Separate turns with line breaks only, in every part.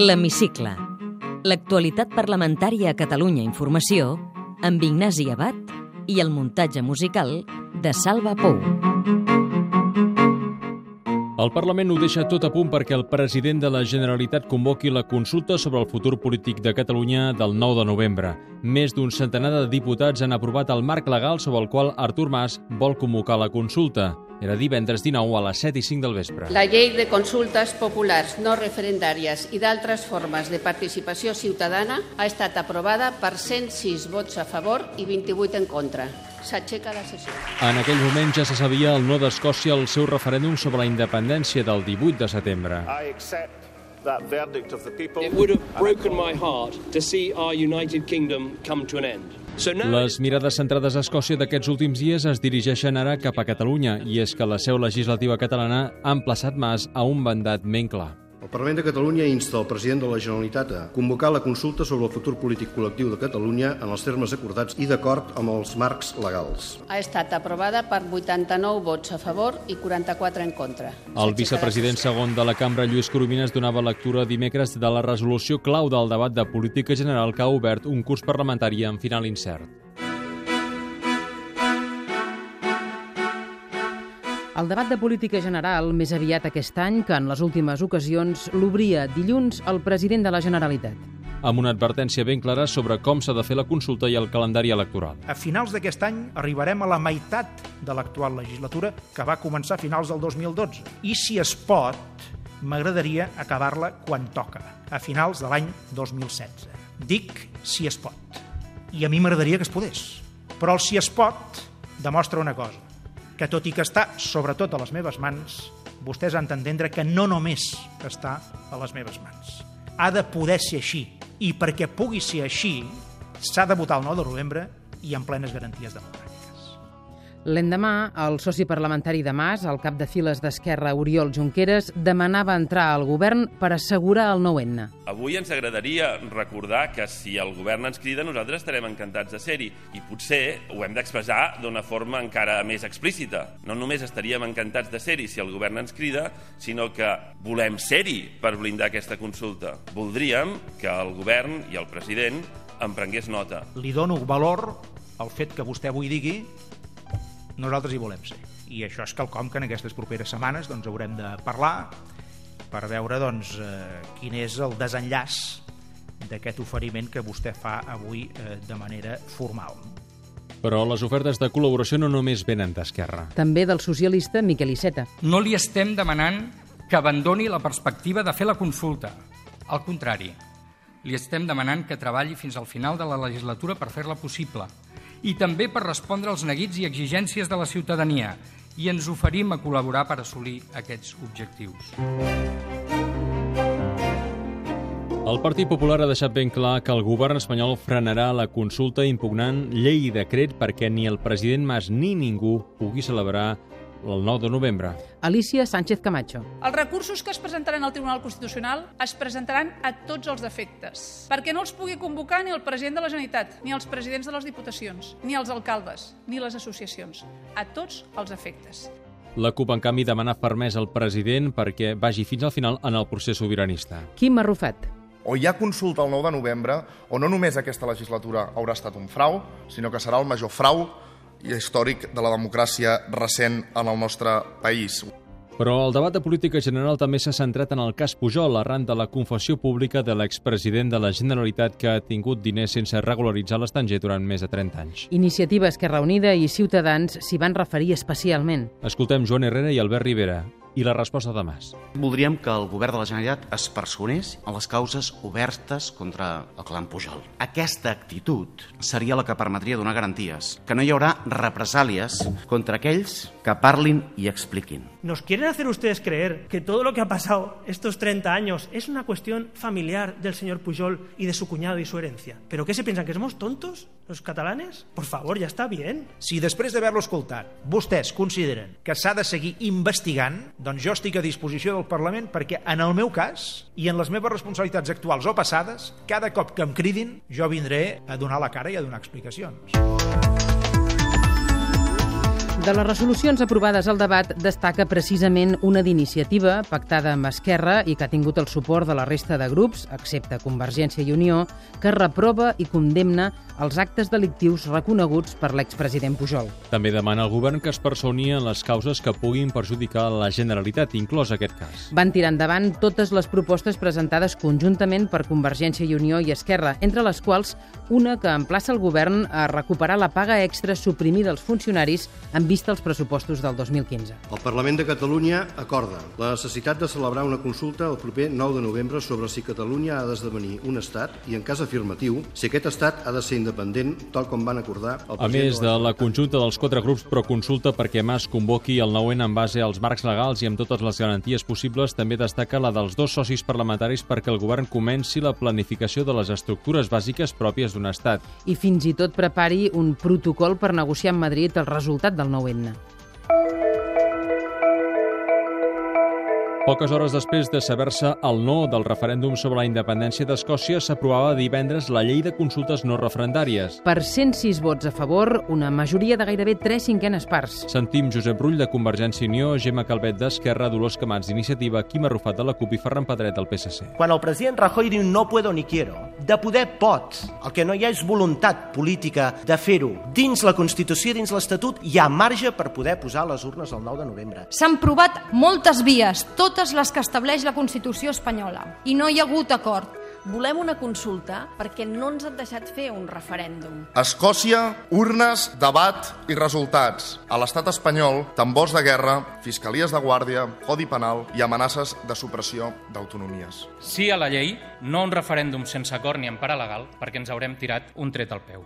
L'Hemicicle. L'actualitat parlamentària a Catalunya Informació amb Ignasi Abad i el muntatge musical de Salva Pou.
El Parlament ho deixa tot a punt perquè el president de la Generalitat convoqui la consulta sobre el futur polític de Catalunya del 9 de novembre. Més d'un centenar de diputats han aprovat el marc legal sobre el qual Artur Mas vol convocar la consulta. Era divendres 19 a les 7 i 5 del vespre.
La llei de consultes populars no referendàries i d'altres formes de participació ciutadana ha estat aprovada per 106 vots a favor i 28 en contra. S'aixeca la sessió.
En aquell moment ja se sabia el no d'Escòcia al seu referèndum sobre la independència del 18 de setembre.
I accept that verdict of the people.
It would have broken my heart to see our United Kingdom come to an end. So now
Les mirades centrades a Escòcia d'aquests últims dies es dirigeixen ara cap a Catalunya i és que la seu legislativa catalana ha emplaçat Mas a un mandat ben clar.
El Parlament de Catalunya insta el president de la Generalitat a convocar la consulta sobre el futur polític col·lectiu de Catalunya en els termes acordats i d'acord amb els marcs legals.
Ha estat aprovada per 89 vots a favor i 44 en contra.
El
S'aixeca
vicepresident
la sessió.
segon de la cambra, Lluís Coromines, donava lectura dimecres de la resolució clau del debat de política general que ha obert un curs parlamentari en final incert.
El debat de política general, més aviat aquest any que en les últimes ocasions, l'obria dilluns el president de la Generalitat.
amb una advertència ben clara sobre com s'ha de fer la consulta i el calendari electoral.
A finals d'aquest any arribarem a la meitat de l'actual legislatura, que va començar a finals del 2012. I si es pot, m'agradaria acabar-la quan toca, a finals de l'any 2016. Dic si es pot. I a mi m'agradaria que es podés. Però el si es pot demostra una cosa, que tot i que està sobretot a les meves mans, vostès han d'entendre que no només està a les meves mans. Ha de poder ser així. I perquè pugui ser així, s'ha de votar el 9 de novembre i amb plenes garanties democràtiques.
L'endemà, el soci parlamentari de Mas, el cap de files d'Esquerra Oriol Junqueras, demanava entrar al govern per assegurar el nou n
Avui ens agradaria recordar que si el govern ens crida, nosaltres estarem encantats de ser-hi i potser ho hem d'expressar d'una forma encara més explícita. No només estaríem encantats de ser-hi si el govern ens crida, sinó que volem ser-hi per blindar aquesta consulta. Voldríem que el govern i el president en prengués nota.
Li dono valor al fet que vostè avui digui nosaltres hi volem ser. I això és quelcom que en aquestes properes setmanes doncs, haurem de parlar per veure doncs, eh, quin és el desenllaç d'aquest oferiment que vostè fa avui eh, de manera formal.
Però les ofertes de col·laboració no només venen d'Esquerra.
també del socialista Miquel Iceta.
No li estem demanant que abandoni la perspectiva de fer la consulta. Al contrari, li estem demanant que treballi fins al final de la legislatura per fer-la possible i també per respondre als neguits i exigències de la ciutadania i ens oferim a col·laborar per assolir aquests objectius.
El Partit Popular ha deixat ben clar que el govern espanyol frenarà la consulta impugnant llei i decret perquè ni el president Mas ni ningú pugui celebrar el 9 de novembre.
Alicia Sánchez Camacho.
Els recursos que es presentaran al Tribunal Constitucional es presentaran a tots els efectes, perquè no els pugui convocar ni el president de la Generalitat, ni els presidents de les diputacions, ni els alcaldes, ni les associacions. A tots els efectes.
La CUP, en canvi, demana fermesa al president perquè vagi fins al final en el procés sobiranista.
Quim Arrufat.
O hi ha consulta el 9 de novembre, o no només aquesta legislatura haurà estat un frau, sinó que serà el major frau i històric de la democràcia recent en el nostre país.
Però el debat de política general també s'ha centrat en el cas Pujol arran de la confessió pública de l'expresident de la Generalitat que ha tingut diners sense regularitzar a l'estranger durant més de 30 anys.
Iniciativa Esquerra Unida i Ciutadans s'hi van referir especialment.
Escoltem Joan Herrera i Albert Rivera i la resposta de Mas.
Voldríem que el govern de la Generalitat es personés en les causes obertes contra el clan Pujol. Aquesta actitud seria la que permetria donar garanties, que no hi haurà represàlies contra aquells que parlin i expliquin.
¿Nos quieren hacer ustedes creer que todo lo que ha pasado estos 30 años es una cuestión familiar del señor Pujol y de su cuñado y su herencia? ¿Pero qué se piensan? ¿Que somos tontos los catalanes? Por favor, ya está bien.
Si després d'haver-lo escoltat vostès consideren que s'ha de seguir investigant, doncs jo estic a disposició del Parlament perquè en el meu cas i en les meves responsabilitats actuals o passades, cada cop que em cridin jo vindré a donar la cara i a donar explicacions.
De les resolucions aprovades al debat destaca precisament una d'iniciativa pactada amb Esquerra i que ha tingut el suport de la resta de grups, excepte Convergència i Unió, que reprova i condemna els actes delictius reconeguts per l'expresident Pujol.
També demana al govern que es personi en les causes que puguin perjudicar la Generalitat, inclòs aquest cas.
Van tirar endavant totes les propostes presentades conjuntament per Convergència i Unió i Esquerra, entre les quals una que emplaça el govern a recuperar la paga extra suprimida als funcionaris en vista als pressupostos del 2015.
El Parlament de Catalunya acorda la necessitat de celebrar una consulta el proper 9 de novembre sobre si Catalunya ha d'esdevenir un estat i, en cas afirmatiu, si aquest estat ha de ser independent, tal com van acordar el
A
president
més de la conjunta dels quatre grups pro consulta perquè Mas convoqui el 9-N en base als marcs legals i amb totes les garanties possibles, també destaca la dels dos socis parlamentaris perquè el govern comenci la planificació de les estructures bàsiques pròpies d'un estat.
I fins i tot prepari un protocol per negociar amb Madrid el resultat del 9-N.
Poques hores després de saber-se el no del referèndum sobre la independència d'Escòcia, s'aprovava divendres la llei de consultes no referendàries.
Per 106 vots a favor, una majoria de gairebé 3 cinquenes parts.
Sentim Josep Rull de Convergència i Unió, Gemma Calvet d'Esquerra, Dolors Camats d'Iniciativa, Quim Arrufat de la CUP i Ferran Pedret del PSC.
Quan el president Rajoy diu no puedo ni quiero, de poder pot. El que no hi ha és voluntat política de fer-ho. Dins la Constitució, dins l'Estatut, hi ha marge per poder posar les urnes el 9 de novembre.
S'han provat moltes vies, totes les que estableix la Constitució espanyola, i no hi ha hagut acord. Volem una consulta perquè no ens han deixat fer un referèndum.
Escòcia, urnes, debat i resultats. A l'estat espanyol, tambors de guerra, fiscalies de guàrdia, codi penal i amenaces de supressió d'autonomies.
Sí a la llei, no a un referèndum sense acord ni empara legal, perquè ens haurem tirat un tret al peu.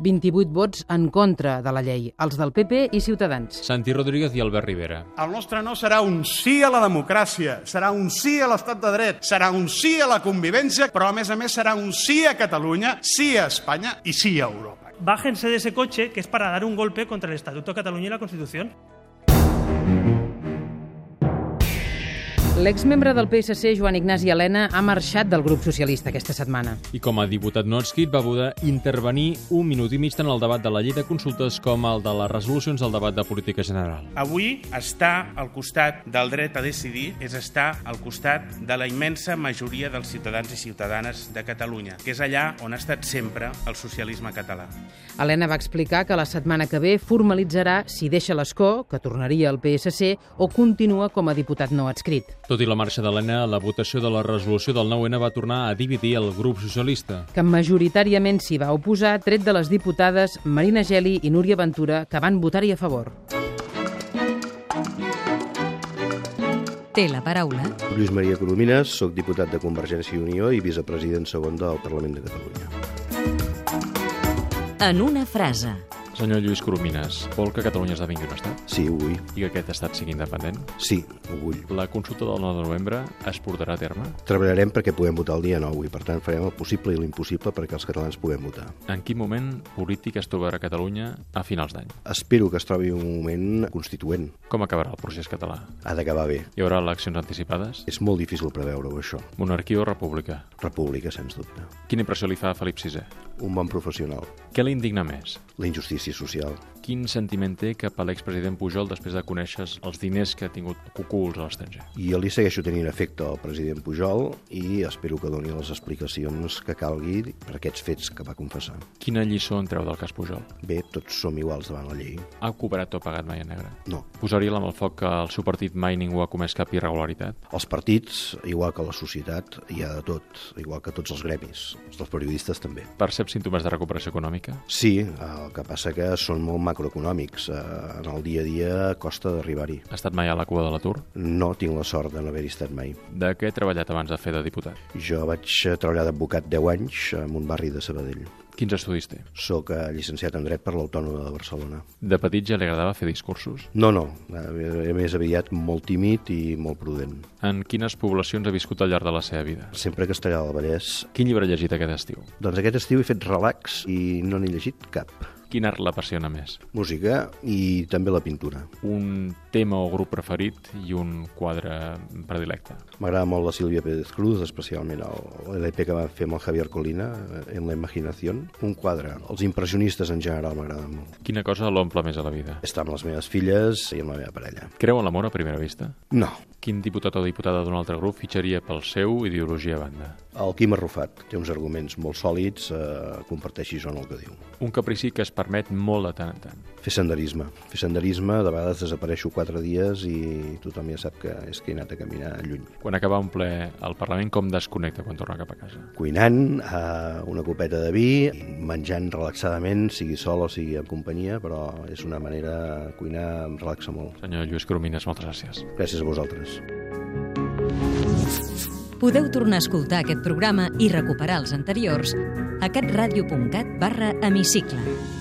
28 vots en contra de la llei, els del PP i Ciutadans.
Santi Rodríguez i Albert Rivera.
El nostre no serà un sí a la democràcia, serà un sí a l'estat de dret, serà un sí a la convivència, però a més a més serà un sí a Catalunya, sí a Espanya i sí a Europa.
Bájense de ese coche que es para dar un golpe contra el Estatuto de Cataluña y la Constitución.
L'exmembre del PSC, Joan Ignasi Helena, ha marxat del grup socialista aquesta setmana.
I com a diputat no adscrit va poder intervenir un minut i mig tant al debat de la llei de consultes com al de les resolucions del debat de política general.
Avui estar al costat del dret a decidir és estar al costat de la immensa majoria dels ciutadans i ciutadanes de Catalunya, que és allà on ha estat sempre el socialisme català.
Helena va explicar que la setmana que ve formalitzarà si deixa l'escó, que tornaria al PSC, o continua com a diputat no adscrit.
Tot i la marxa d'Helena, la votació de la resolució del 9-N va tornar a dividir el grup socialista.
que majoritàriament s'hi va oposar, tret de les diputades Marina Geli i Núria Ventura, que van votar-hi a favor.
Té la paraula
Lluís Maria Coromines, soc diputat de Convergència i Unió i vicepresident segon del Parlament de Catalunya.
en una frase.
Senyor Lluís Coromines, vol que Catalunya esdevingui un estat?
Sí, ho vull.
I que aquest estat sigui independent?
Sí, ho vull.
La consulta del 9 de novembre es portarà a terme?
Treballarem perquè puguem votar el dia 9 i, per tant, farem el possible i l'impossible perquè els catalans puguem votar.
En quin moment polític es trobarà Catalunya a finals d'any?
Espero que es trobi un moment constituent.
Com acabarà el procés català?
Ha d'acabar bé.
Hi haurà eleccions anticipades?
És molt difícil preveure-ho, això.
Monarquia o república?
República, sens dubte.
Quina impressió li fa a Felip VI?
Un bon professional.
Què li indigna més?
La injustícia social.
Quin sentiment té cap a l'expresident Pujol després de conèixer els diners que ha tingut cuculs a l'estranger?
I jo li segueixo tenint afecte al president Pujol i espero que doni les explicacions que calgui per aquests fets que va confessar.
Quina lliçó en treu del cas Pujol?
Bé, tots som iguals davant la llei.
Ha cooperat o pagat mai a negre?
No.
Posaria la mà al foc que el seu partit mai ningú ha comès cap irregularitat?
Els partits, igual que la societat, hi ha de tot, igual que tots els gremis, els dels periodistes també.
Percep símptomes de recuperació econòmica?
Sí, el que passa que són molt macroeconòmics. eh, En el dia a dia costa d'arribar-hi.
Ha estat mai a la cua de l'atur?
No tinc la sort de no haver-hi estat mai.
De què ha treballat abans de fer de diputat?
Jo vaig eh, treballar d'advocat 10 anys en un barri de Sabadell.
Quins estudis té?
Soc eh, llicenciat en dret per l'Autònoma de Barcelona.
De petit ja li agradava fer discursos?
No, no, a més aviat molt tímid i molt prudent.
En quines poblacions ha viscut al llarg de la seva vida?
Sempre Castellà del Vallès.
Quin llibre ha llegit aquest estiu?
Doncs aquest estiu he fet relax i no n'he llegit cap.
Quin art l'apassiona més?
Música i també la pintura.
Un tema o grup preferit i un quadre predilecte.
M'agrada molt la Sílvia Pérez Cruz, especialment el- l'EP que va fer amb el Javier Colina, eh, en la imaginació. Un quadre. Els impressionistes en general m'agraden molt.
Quina cosa l'omple més a la vida?
Està amb les meves filles i amb la meva parella.
Creu en l'amor a primera vista?
No.
Quin diputat o diputada d'un altre grup fitxaria pel seu ideologia a banda?
El Quim Arrufat té uns arguments molt sòlids, eh, comparteixis o no el que diu.
Un caprici que es permet molt de tant en tant.
Fer senderisme. Fer senderisme, de vegades desapareixo quatre dies i tothom ja sap que és que he anat a caminar lluny.
Quan acaba un ple al Parlament, com desconnecta quan torna cap a casa?
cuinant eh, una copeta de vi, menjant relaxadament, sigui sol o sigui en companyia, però és una manera cuinar em relaxa molt.
Senyor Lluís Coromines, moltes gràcies.
Gràcies a vosaltres.
Podeu tornar a escoltar aquest programa i recuperar els anteriors a catradio.cat barra hemicicle.